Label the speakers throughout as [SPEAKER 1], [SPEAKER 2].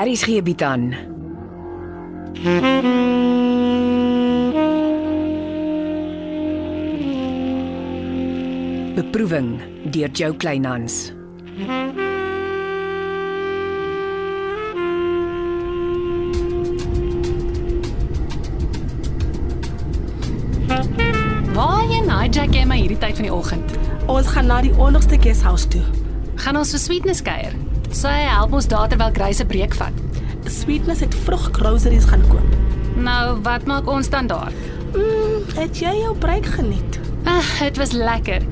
[SPEAKER 1] Aries gee bied aan. Beproeving deur Jo Kleinhans.
[SPEAKER 2] Waarheen hijack jy my hierdie tyd van die oggend?
[SPEAKER 3] Ons gaan na die onderste guesthouse toe.
[SPEAKER 2] Gaan ons vir sweetness kuier? Sy help ons daar terwyl Grace 'n breek vat.
[SPEAKER 3] Sweetness het vrug groceries gaan koop.
[SPEAKER 2] Nou, wat maak ons dan daar?
[SPEAKER 3] Mm, het jy jou break geniet?
[SPEAKER 2] Ag, dit was lekker.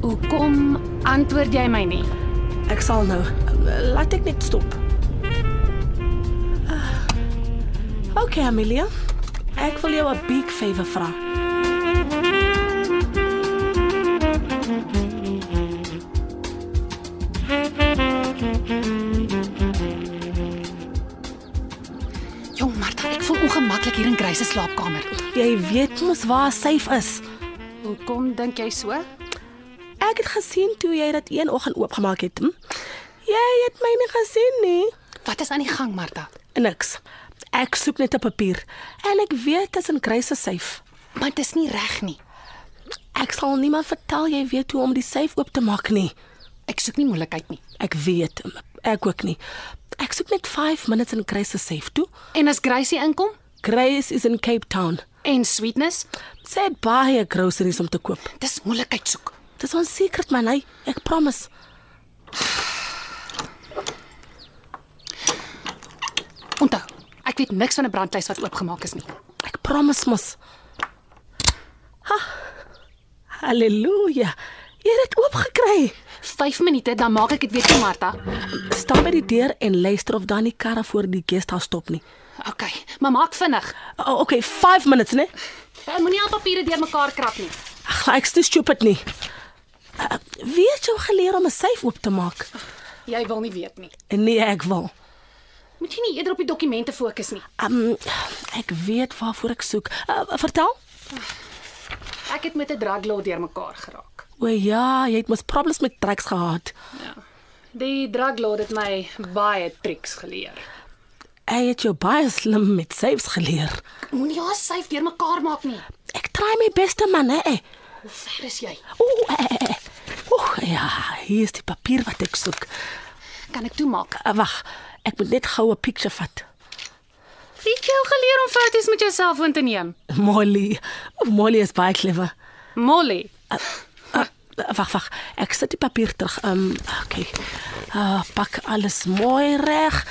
[SPEAKER 2] Hoekom antwoord jy my nie?
[SPEAKER 3] Ek sal nou. Laat ek net stop. Ah. OK, Amelia. Ek wil jou 'n big favor vra.
[SPEAKER 2] Jong Martha, ek voel ongemaklik hier in Grace se slaapkamer.
[SPEAKER 3] Jy weet mos waar safe is.
[SPEAKER 2] Hoekom dink jy so?
[SPEAKER 3] Ek het gesien toe jy dit een oggend oopgemaak het. Hm? Jy het my nie gesien nie.
[SPEAKER 2] Wat is aan die gang, Martha?
[SPEAKER 3] Niks. Ek soek net 'n papier en ek weet dit is in Grace se safe.
[SPEAKER 2] Maar dit is nie reg nie.
[SPEAKER 3] Ek sal niemand vertel jy weet hoe om die safe oop te maak nie.
[SPEAKER 2] Ek soek nie moeilikheid nie.
[SPEAKER 3] Ek weet, ek ook nie. Ek soek net 5 minutes in Grace se safe toe.
[SPEAKER 2] En as Grace hier inkom
[SPEAKER 3] Grace is in Cape Town.
[SPEAKER 2] en sweetness,
[SPEAKER 3] Sy het baie groceries om te koop.
[SPEAKER 2] dis moeilikheid soek.
[SPEAKER 3] Dis ons secret man, hy. Ek promise.
[SPEAKER 2] Onthou, ek weet niks van 'n brandlys wat oopgemaak is nie.
[SPEAKER 3] Ek promise mos. Ha. Halleluja. Jy het dit oop gekry.
[SPEAKER 2] 5 minute dan maak ek dit weer toe, Martha.
[SPEAKER 3] Staan by die deur en luister of daar nie karre voor die guesthouse stop nie.
[SPEAKER 2] OK, maar maak vinnig.
[SPEAKER 3] O, okay, 5 minutes, né?
[SPEAKER 2] Ek Eh, moenie al papiere deurmekaar krap nie.
[SPEAKER 3] Ag, ek's te stupid nie. Uh, wie het jou geleer om 'n syf oop te maak?
[SPEAKER 2] Jy wil nie weet nie.
[SPEAKER 3] Nee, ek wil.
[SPEAKER 2] Moet jy nie eerder op die dokumente fokus nie.
[SPEAKER 3] Um, ek weet waarvoor ek soek. Uh, vertel.
[SPEAKER 2] Ek het met 'n druglaw deurmekaar geraak.
[SPEAKER 3] O ja, jy het mos problems met drugs gehad.
[SPEAKER 2] Ja. Die druglaw het my baie triks geleer.
[SPEAKER 3] Hy het jou baie slim met syfs geleer.
[SPEAKER 2] Moenie haar syf deurmekaar maak nie.
[SPEAKER 3] Ek try my beste man, hè.
[SPEAKER 2] Hoe ver is jy?
[SPEAKER 3] Ooh, eh, ooh, ja, hier is die papier wat ek soek.
[SPEAKER 2] Kan ek toemaak?
[SPEAKER 3] Uh, Wag, ek moet net gou 'n picture vat.
[SPEAKER 2] Wie het jou geleer om foto's met jou selfoon te neem?
[SPEAKER 3] Molly, Molly is baie clever.
[SPEAKER 2] Molly.
[SPEAKER 3] Uh, Wag, wag. Ek sit die papier terug. Ehm, um, okay. Uh, pak alles mooi reg.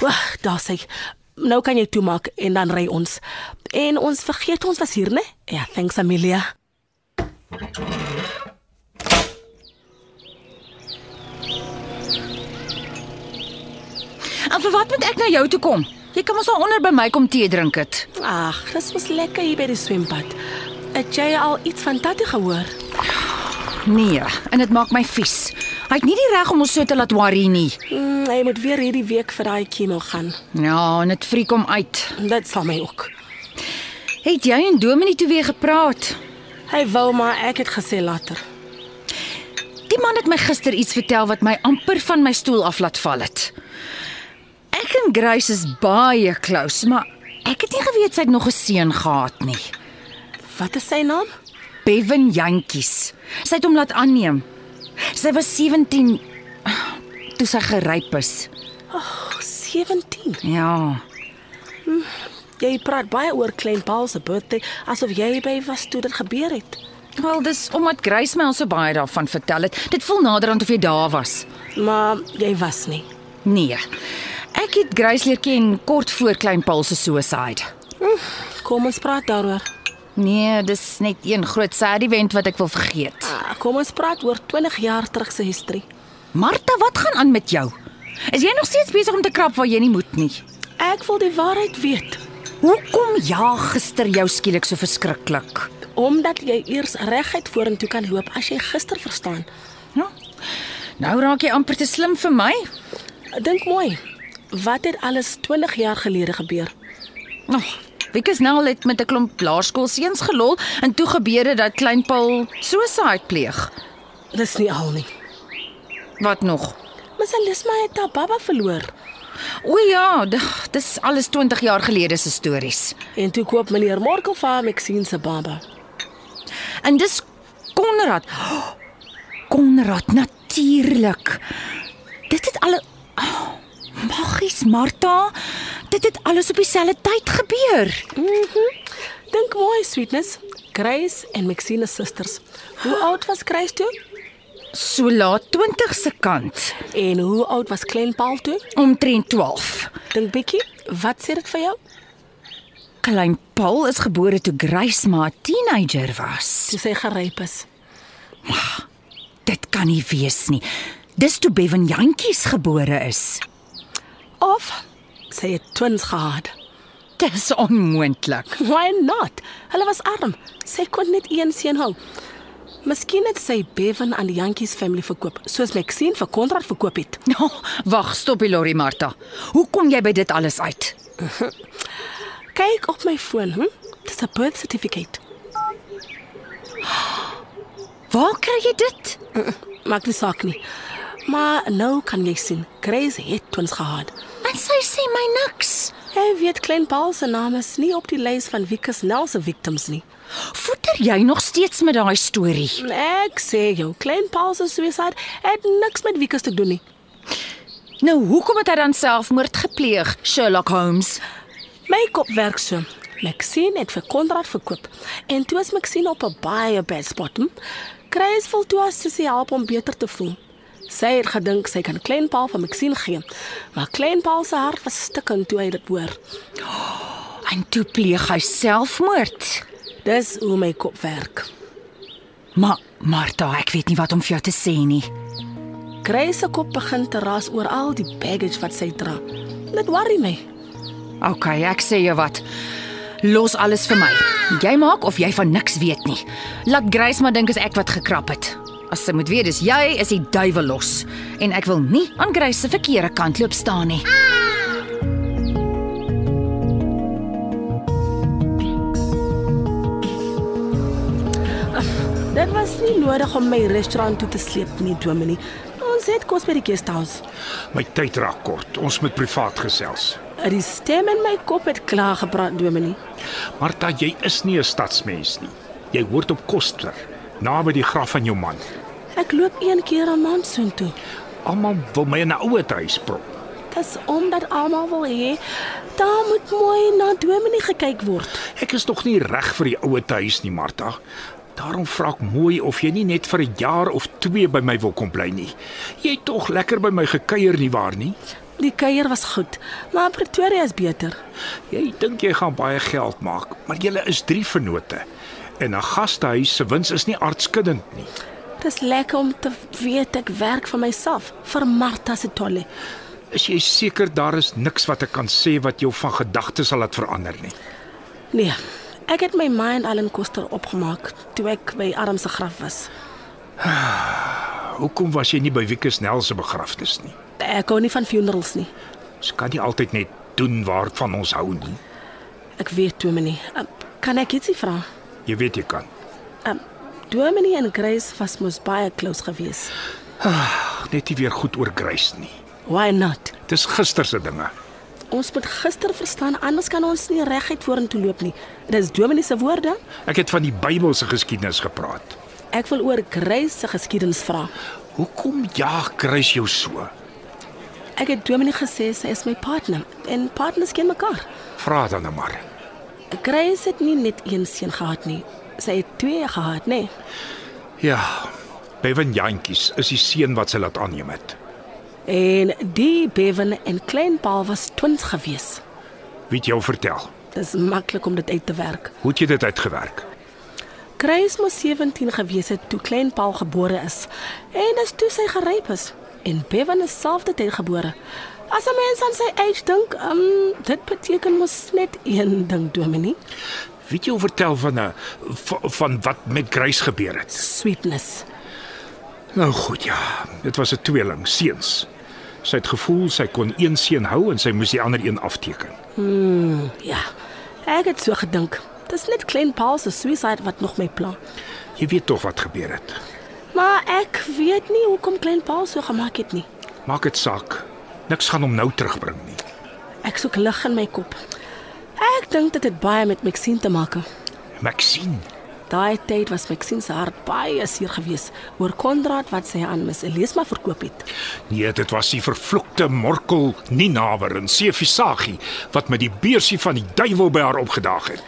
[SPEAKER 3] Wag, daar sê. Nou kan jy toemaak en dan ry ons. En ons vergeet ons was hier, né? Ja, thanks Amelia.
[SPEAKER 4] En vir wat moet ek na jou toe kom? Jy kan mos al onder by my kom tee drink het.
[SPEAKER 3] Ag, dis mos lekker hier by die swembad. Het jy al iets van Tatie gehoor?
[SPEAKER 4] Nee, en dit maak my vies. Hy het nie die reg om ons so te laat worry nie.
[SPEAKER 3] Mm, hy moet weer hierdie week vir daai chemo gaan.
[SPEAKER 4] Ja, en dit friek hom uit.
[SPEAKER 3] Dit sal my ook.
[SPEAKER 4] Het jy en Dominie toe weer gepraat?
[SPEAKER 3] Hy wou maar ek het gesê later.
[SPEAKER 4] Die man het my gister iets vertel wat my amper van my stoel af laat val het. Ek en Grace is baie close, maar ek het nie geweet sy het nog 'n seun gehad nie.
[SPEAKER 3] Wat is sy naam?
[SPEAKER 4] Bevan Jantjies. Sy het hom laat aanneem. Sy was 17 toe sy geryp is.
[SPEAKER 3] O, 17.
[SPEAKER 4] Ja.
[SPEAKER 3] Jy praat baie oor Klein Paul se birthday asof jy by was toe dit gebeur het.
[SPEAKER 4] Wel, dis omdat Grace my al so baie daarvan vertel het. Dit voel naderhand of jy daar was.
[SPEAKER 3] Maar jy was nie.
[SPEAKER 4] Nee. Ek het Grace leer ken kort voor Klein Paul se suicide.
[SPEAKER 3] Kom ons praat daaroor.
[SPEAKER 4] Nee, dis net een groot sad event wat ek wil vergeet.
[SPEAKER 3] Ah, Kom ons praat oor 20 jaar terug se historie.
[SPEAKER 4] Martha, wat gaan aan met jou? Is jy nog steeds besig om te krap waar jy nie moet nie?
[SPEAKER 3] Ek wil die waarheid weet
[SPEAKER 4] Hoekom jaag gister jou skielik so verskriklik?
[SPEAKER 3] omdat jy eers reguit vorentoe kan loop as jy gister verstaan.
[SPEAKER 4] Ja. Nou raak jy amper te slim vir my.
[SPEAKER 3] Dink mooi. Wat het alles 20 jaar gelede gebeur?
[SPEAKER 4] Nog. Oh, Wieke Snell het met 'n klomp laerskoolseuns gelol en toe gebeur dit dat klein Paul suicide pleeg.
[SPEAKER 3] Dis nie al nie.
[SPEAKER 4] Wat nog?
[SPEAKER 3] Miss Elisma het haar baba verloor.
[SPEAKER 4] O ja, dig, dis alles 20 jaar gelede se stories.
[SPEAKER 3] En toe koop meneer Morkel vir haar Maxine se baba.
[SPEAKER 4] En dis Konrad. Konrad natuurlik. Dit het al oh, Maggies Martha, dit het alles op dieselfde tyd gebeur.
[SPEAKER 3] Mm-hmm. Dink mooi, sweetness. Grace en Maxine is susters. Hoe oud was Grace toe?
[SPEAKER 4] So laat 20 se kant,
[SPEAKER 3] En hoe oud was Klein Paul toe?
[SPEAKER 4] omtrent 12.
[SPEAKER 3] Dink bietjie, wat sê dit vir jou?
[SPEAKER 4] Klein Paul is gebore toe Grace maar 'n teenager was.
[SPEAKER 3] Toe sy geryp is.
[SPEAKER 4] Dit kan nie wees nie. Dis toe Bevan Jantjies gebore is.
[SPEAKER 3] Of sy het twins gehad.
[SPEAKER 4] Dis onmoontlik.
[SPEAKER 3] Why not? Hulle was arm. Sy kon net een seun hou. Miskien het sy Bevan aan die Jantjies familie verkoop, soos Maxine vir Konrad verkoop het.
[SPEAKER 4] Nou, wag, stop die lorry, Martha. Hoe kom jy by dit alles uit?
[SPEAKER 3] Kyk op my foon, hm? Dis 'n birth certificate.
[SPEAKER 4] Waar kry jy dit?
[SPEAKER 3] Maak nie saak nie. Maar nou kan jy sien, Grace het twins gehad.
[SPEAKER 4] En sy sê my niks.
[SPEAKER 3] Hy weet Klein Paul se naam is nie op die lys van Wieke Snell se victims nie.
[SPEAKER 4] Voeter jy nog steeds met daai storie?
[SPEAKER 3] Ek sê jou, Klein Paul se suicide het niks met Wieke te doen nie.
[SPEAKER 4] Nou, hoekom het hy dan selfmoord gepleeg, Sherlock Holmes?
[SPEAKER 3] My kop werk so. Maxine het vir Konrad verkoop en toe is Maxine op 'n baie bad spot. Hm? Grace wil toe as sy help om beter te voel. Sy het gedink sy kan Klein Paul vir Maxine gee, maar Klein Paul se hart was stikkend toe hy dit hoor.
[SPEAKER 4] En toe pleeg hy selfmoord.
[SPEAKER 3] Dis hoe my kop werk.
[SPEAKER 4] Maar Martha, ek weet nie wat om vir jou te sê nie.
[SPEAKER 3] Grace se kop begin te ras oor al die baggage wat sy dra. Dit worry my.
[SPEAKER 4] OK, ek sê jou wat. Los alles vir my. Jy maak of jy van niks weet nie. Laat Grace maar dink as ek wat gekrap het. As sy moet weet dis jy is die duiwel los en ek wil nie aan Grace se verkeerde kant loop staan nie.
[SPEAKER 3] Dit was nie nodig om my restaurant toe te sleep nie, Dominie. Ons het kos by die guesthouse.
[SPEAKER 5] My tyd raak kort. Ons moet privaat gesels.
[SPEAKER 3] Die stem in my kop het klaar gepraat, Dominie.
[SPEAKER 5] Martha, jy is nie 'n stadsmens nie. Jy hoort op Koster, naby die graf van jou man.
[SPEAKER 3] Ek loop een keer 'n maand soontoe.
[SPEAKER 5] Almal wil my in 'n ouer huis prop.
[SPEAKER 3] Dis omdat almal wil hê daar moet mooi na Dominie gekyk word.
[SPEAKER 5] Ek is nog nie reg vir die ouer huis nie, Martha. Daarom vra ek mooi of jy nie net vir 'n jaar of 2 by my wil kom bly nie. Jy het tog lekker by my gekuier nie waar nie?
[SPEAKER 3] Die kuier was goed, maar Pretoria is beter.
[SPEAKER 5] Jy dink jy gaan baie geld maak, maar jy is drie vennote. En 'n gastehuis se wins is nie aardskuddend nie.
[SPEAKER 3] Dis lekker om te weet ek werk vir myself, vir Martha se tolle.
[SPEAKER 5] Is jy seker daar is niks wat ek kan sê wat jou van gedagtes sal laat verander nie?
[SPEAKER 3] Nee, ek het my mind al in Koster opgemaak toe ek by Adam se graf was.
[SPEAKER 5] Hoekom was jy nie by Wieke Snell se begrafnis nie?
[SPEAKER 3] Ek hou nie van funerals nie.
[SPEAKER 5] Ons kan nie altyd net doen waarvan ons hou nie.
[SPEAKER 3] Ek weet Dominie. Um, Kan ek ietsie vra?
[SPEAKER 5] Jy weet jy kan.
[SPEAKER 3] Um, Dominie en Grace was mos baie close geweest.
[SPEAKER 5] Ag, net nie weer goed oor Grace nie.
[SPEAKER 3] Why not?
[SPEAKER 5] Dis gister se dinge.
[SPEAKER 3] Ons moet gister verstaan anders kan ons nie reguit vorentoe loop nie. Dis Dominee se woorde.
[SPEAKER 5] Ek het van die Bybelse geskiedenis gepraat.
[SPEAKER 3] Ek wil oor Grace se geskiedenis vra.
[SPEAKER 5] Hoekom jaag Grace jou so?
[SPEAKER 3] Ek het Dominee gesê sy is my partner en partners ken mekaar.
[SPEAKER 5] Vra dan nou maar.
[SPEAKER 3] Grace het nie net een seun gehad nie. Sy het twee gehad, nê? Nee.
[SPEAKER 5] Ja, Bevan Jantjies is die seun wat sy laat aanneem het.
[SPEAKER 3] En die Bevan en Klein Paul was twins gewees.
[SPEAKER 5] Wie het jou vertel?
[SPEAKER 3] Dis maklik om dit uit te werk.
[SPEAKER 5] Hoe het jy dit uitgewerk?
[SPEAKER 3] Grace moes 17 gewees het toe Klein Paul gebore is. En dis toe sy geryp is en Bevan is selfde tyd gebore. As 'n mens aan sy age dink, um, dit beteken mos net een ding, Dominie,
[SPEAKER 5] Wie het jou vertel van 'n van, van wat met Grace gebeur het?
[SPEAKER 3] sweetness.
[SPEAKER 5] Nou goed ja, dit was 'n tweeling, seuns. Sy het gevoel sy kon een seun hou en sy moes die ander een afteken.
[SPEAKER 3] Ja. Ek het so gedink. Dis net Klein Paul se suicide wat nog my pla.
[SPEAKER 5] Jy weet tog wat gebeur het.
[SPEAKER 3] Maar ek weet nie hoekom Klein Paul so gemaak het nie.
[SPEAKER 5] Maak dit saak. Niks gaan hom nou terugbring nie.
[SPEAKER 3] Ek soek lig in my kop. Ek dink dit het baie met Maxine te maak.
[SPEAKER 5] Maxine,
[SPEAKER 3] Daai tyd was Maxine se hart baie seer geweest oor Konrad wat sy aan mis Elesma verkoop het.
[SPEAKER 5] nee, dit was die vervloekte Morkel Ninawer en Sefisagie wat met die beursie van die duiwel by haar opgedaag het.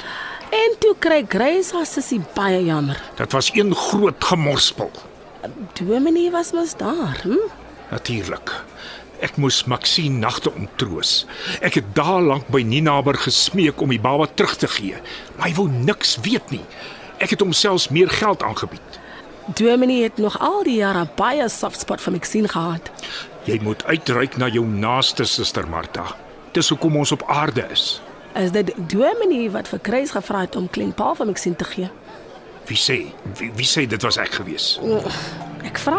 [SPEAKER 3] En toe kry Grace haar sussie baie jammer.
[SPEAKER 5] Dit was een groot gemorspel.
[SPEAKER 3] Dominee was mos daar. Hm?
[SPEAKER 5] Natuurlik. Ek moes Maxine nagte ontroos. Ek het dae lank by Ninaber gesmeek om die baba terug te gee, maar hy wou niks weet nie. Ek het hom selfs meer geld aangebied.
[SPEAKER 3] Dominee het nog al die jare baie soft spot vir Maxine gehad.
[SPEAKER 5] Jy moet uitreik na jou naaste suster Martha. Dis hoekom ons op aarde is.
[SPEAKER 3] Is dit Dominee wat vir Grace gevra het om klein pa vir Maxine te gee?
[SPEAKER 5] Wie sê? Wie, wie sê dit was ek gewees?
[SPEAKER 3] Ek vra,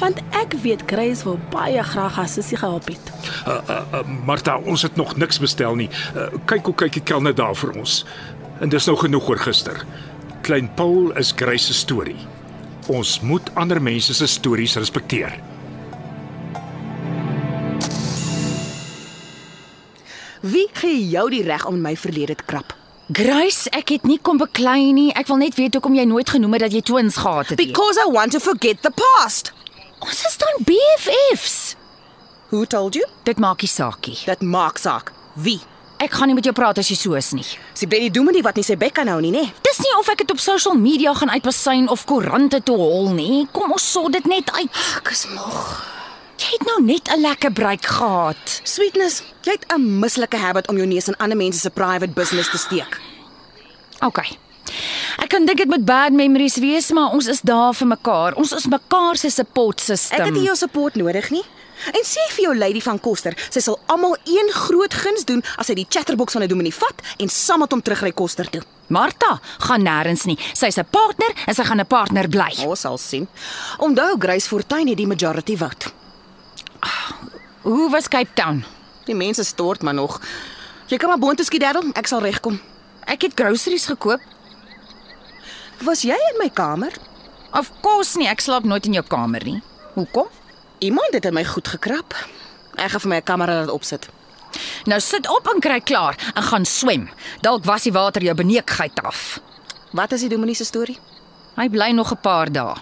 [SPEAKER 3] want ek weet Grace wou baie graag haar sussie gehelp het.
[SPEAKER 5] Uh, uh, uh, Martha, ons het nog niks bestel nie. Uh, kyk hoe kyk die kelner daar vir ons. En dis nou genoeg oor gister. Klein Paul is Grace se storie. Ons moet ander mense se stories respekteer.
[SPEAKER 6] Wie gee jou die reg om in my verlede te krap?
[SPEAKER 4] Grace, ek het nie kom beklei nie. Ek wil net weet hoekom jy nooit genoem het dat jy twins gehad het nie.
[SPEAKER 6] Because I want to forget the past.
[SPEAKER 4] Ons is dan BFFs.
[SPEAKER 6] Who told you?
[SPEAKER 4] Dit maak nie saakie.
[SPEAKER 6] Dit maak saak. Wie?
[SPEAKER 4] Ek gaan nie met jou praat as jy so is nie.
[SPEAKER 6] Sy bly die dominee wat nie sy bek kan hou nie, nê?
[SPEAKER 4] Dis nie of ek dit op social media gaan uitbasyn of koerante toe hol nie. Kom ons sort dit net uit.
[SPEAKER 6] Ek is moeg.
[SPEAKER 4] Jy het nou net 'n lekker breek gehad.
[SPEAKER 6] Sweetness, jy het 'n mislike habit om jou neus in ander mense se private business te steek.
[SPEAKER 4] OK. Ek kan dink dit moet bad memories wees, maar ons is daar vir mekaar. Ons is mekaar se support system.
[SPEAKER 6] Ek het nie jou support nodig nie. En sê vir jou lady van Koster, sy sal almal een groot guns doen as sy die chatterbox van 'n dominee vat en saam met hom terugry Koster toe.
[SPEAKER 4] Martha gaan nêrens nie. Sy's 'n partner en sy gaan 'n partner bly.
[SPEAKER 6] Ja, Ons sal sien. Onthou Grace Fortuin het die majority vote.
[SPEAKER 4] Hoe was Cape Town?
[SPEAKER 6] Die mense stort maar nog. Jy kan maar boontoe skiet, Daryl, ek sal regkom.
[SPEAKER 4] Ek het groceries gekoop.
[SPEAKER 6] Was jy in my kamer?
[SPEAKER 4] Of kos nie, ek slaap nooit in jou kamer nie. Hoekom?
[SPEAKER 6] Iemand het in my goed gekrap. Ek gaan vir my 'n kamera laat opsit.
[SPEAKER 4] Nou sit op en kry klaar en gaan swem. Dalk was die water jou beneekheid af.
[SPEAKER 6] Wat is die dominee se storie?
[SPEAKER 4] Hy bly nog 'n paar dae.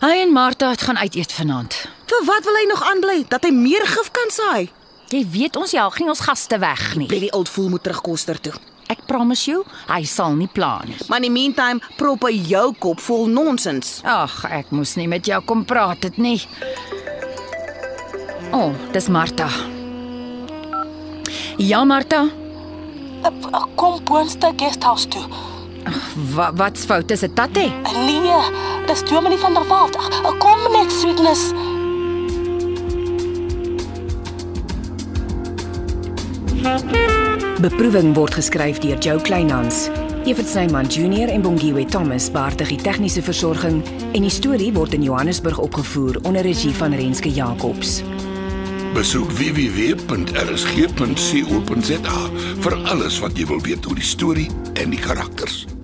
[SPEAKER 4] Hy en Martha het gaan uit eet vanaand.
[SPEAKER 6] Vir wat wil hy nog aanbly dat hy meer gif kan saai?
[SPEAKER 4] Jy weet ons jaag nie ons gaste weg nie.
[SPEAKER 6] Billy old fool moet terugkoster toe.
[SPEAKER 4] Ek promise jou, hy sal nie pla nie.
[SPEAKER 6] Maar in die meantime prop hy jou kop vol nonsens.
[SPEAKER 4] Ag, ek moes nie met jou kom praat dit nie. O, oh, dis Martha. Ja, Martha.
[SPEAKER 3] Ek- ek Kom Boonste Guesthouse toe.
[SPEAKER 4] Wa wat's fout? Is dit Tatte?
[SPEAKER 3] Nee, dis Dominee van der Walt. Ag, Kom net sweetness.
[SPEAKER 1] Beproeving word geskryf deur Jo Kleinhans. Evert Snyman Junior en Bongwe Thomas baartig die tegniese versorging en die storie word in Johannesburg opgevoer onder regie van Renske Jacobs.
[SPEAKER 7] Besoek www.rsg.co.za vir alles wat jy wil weet oor die storie en die karakters.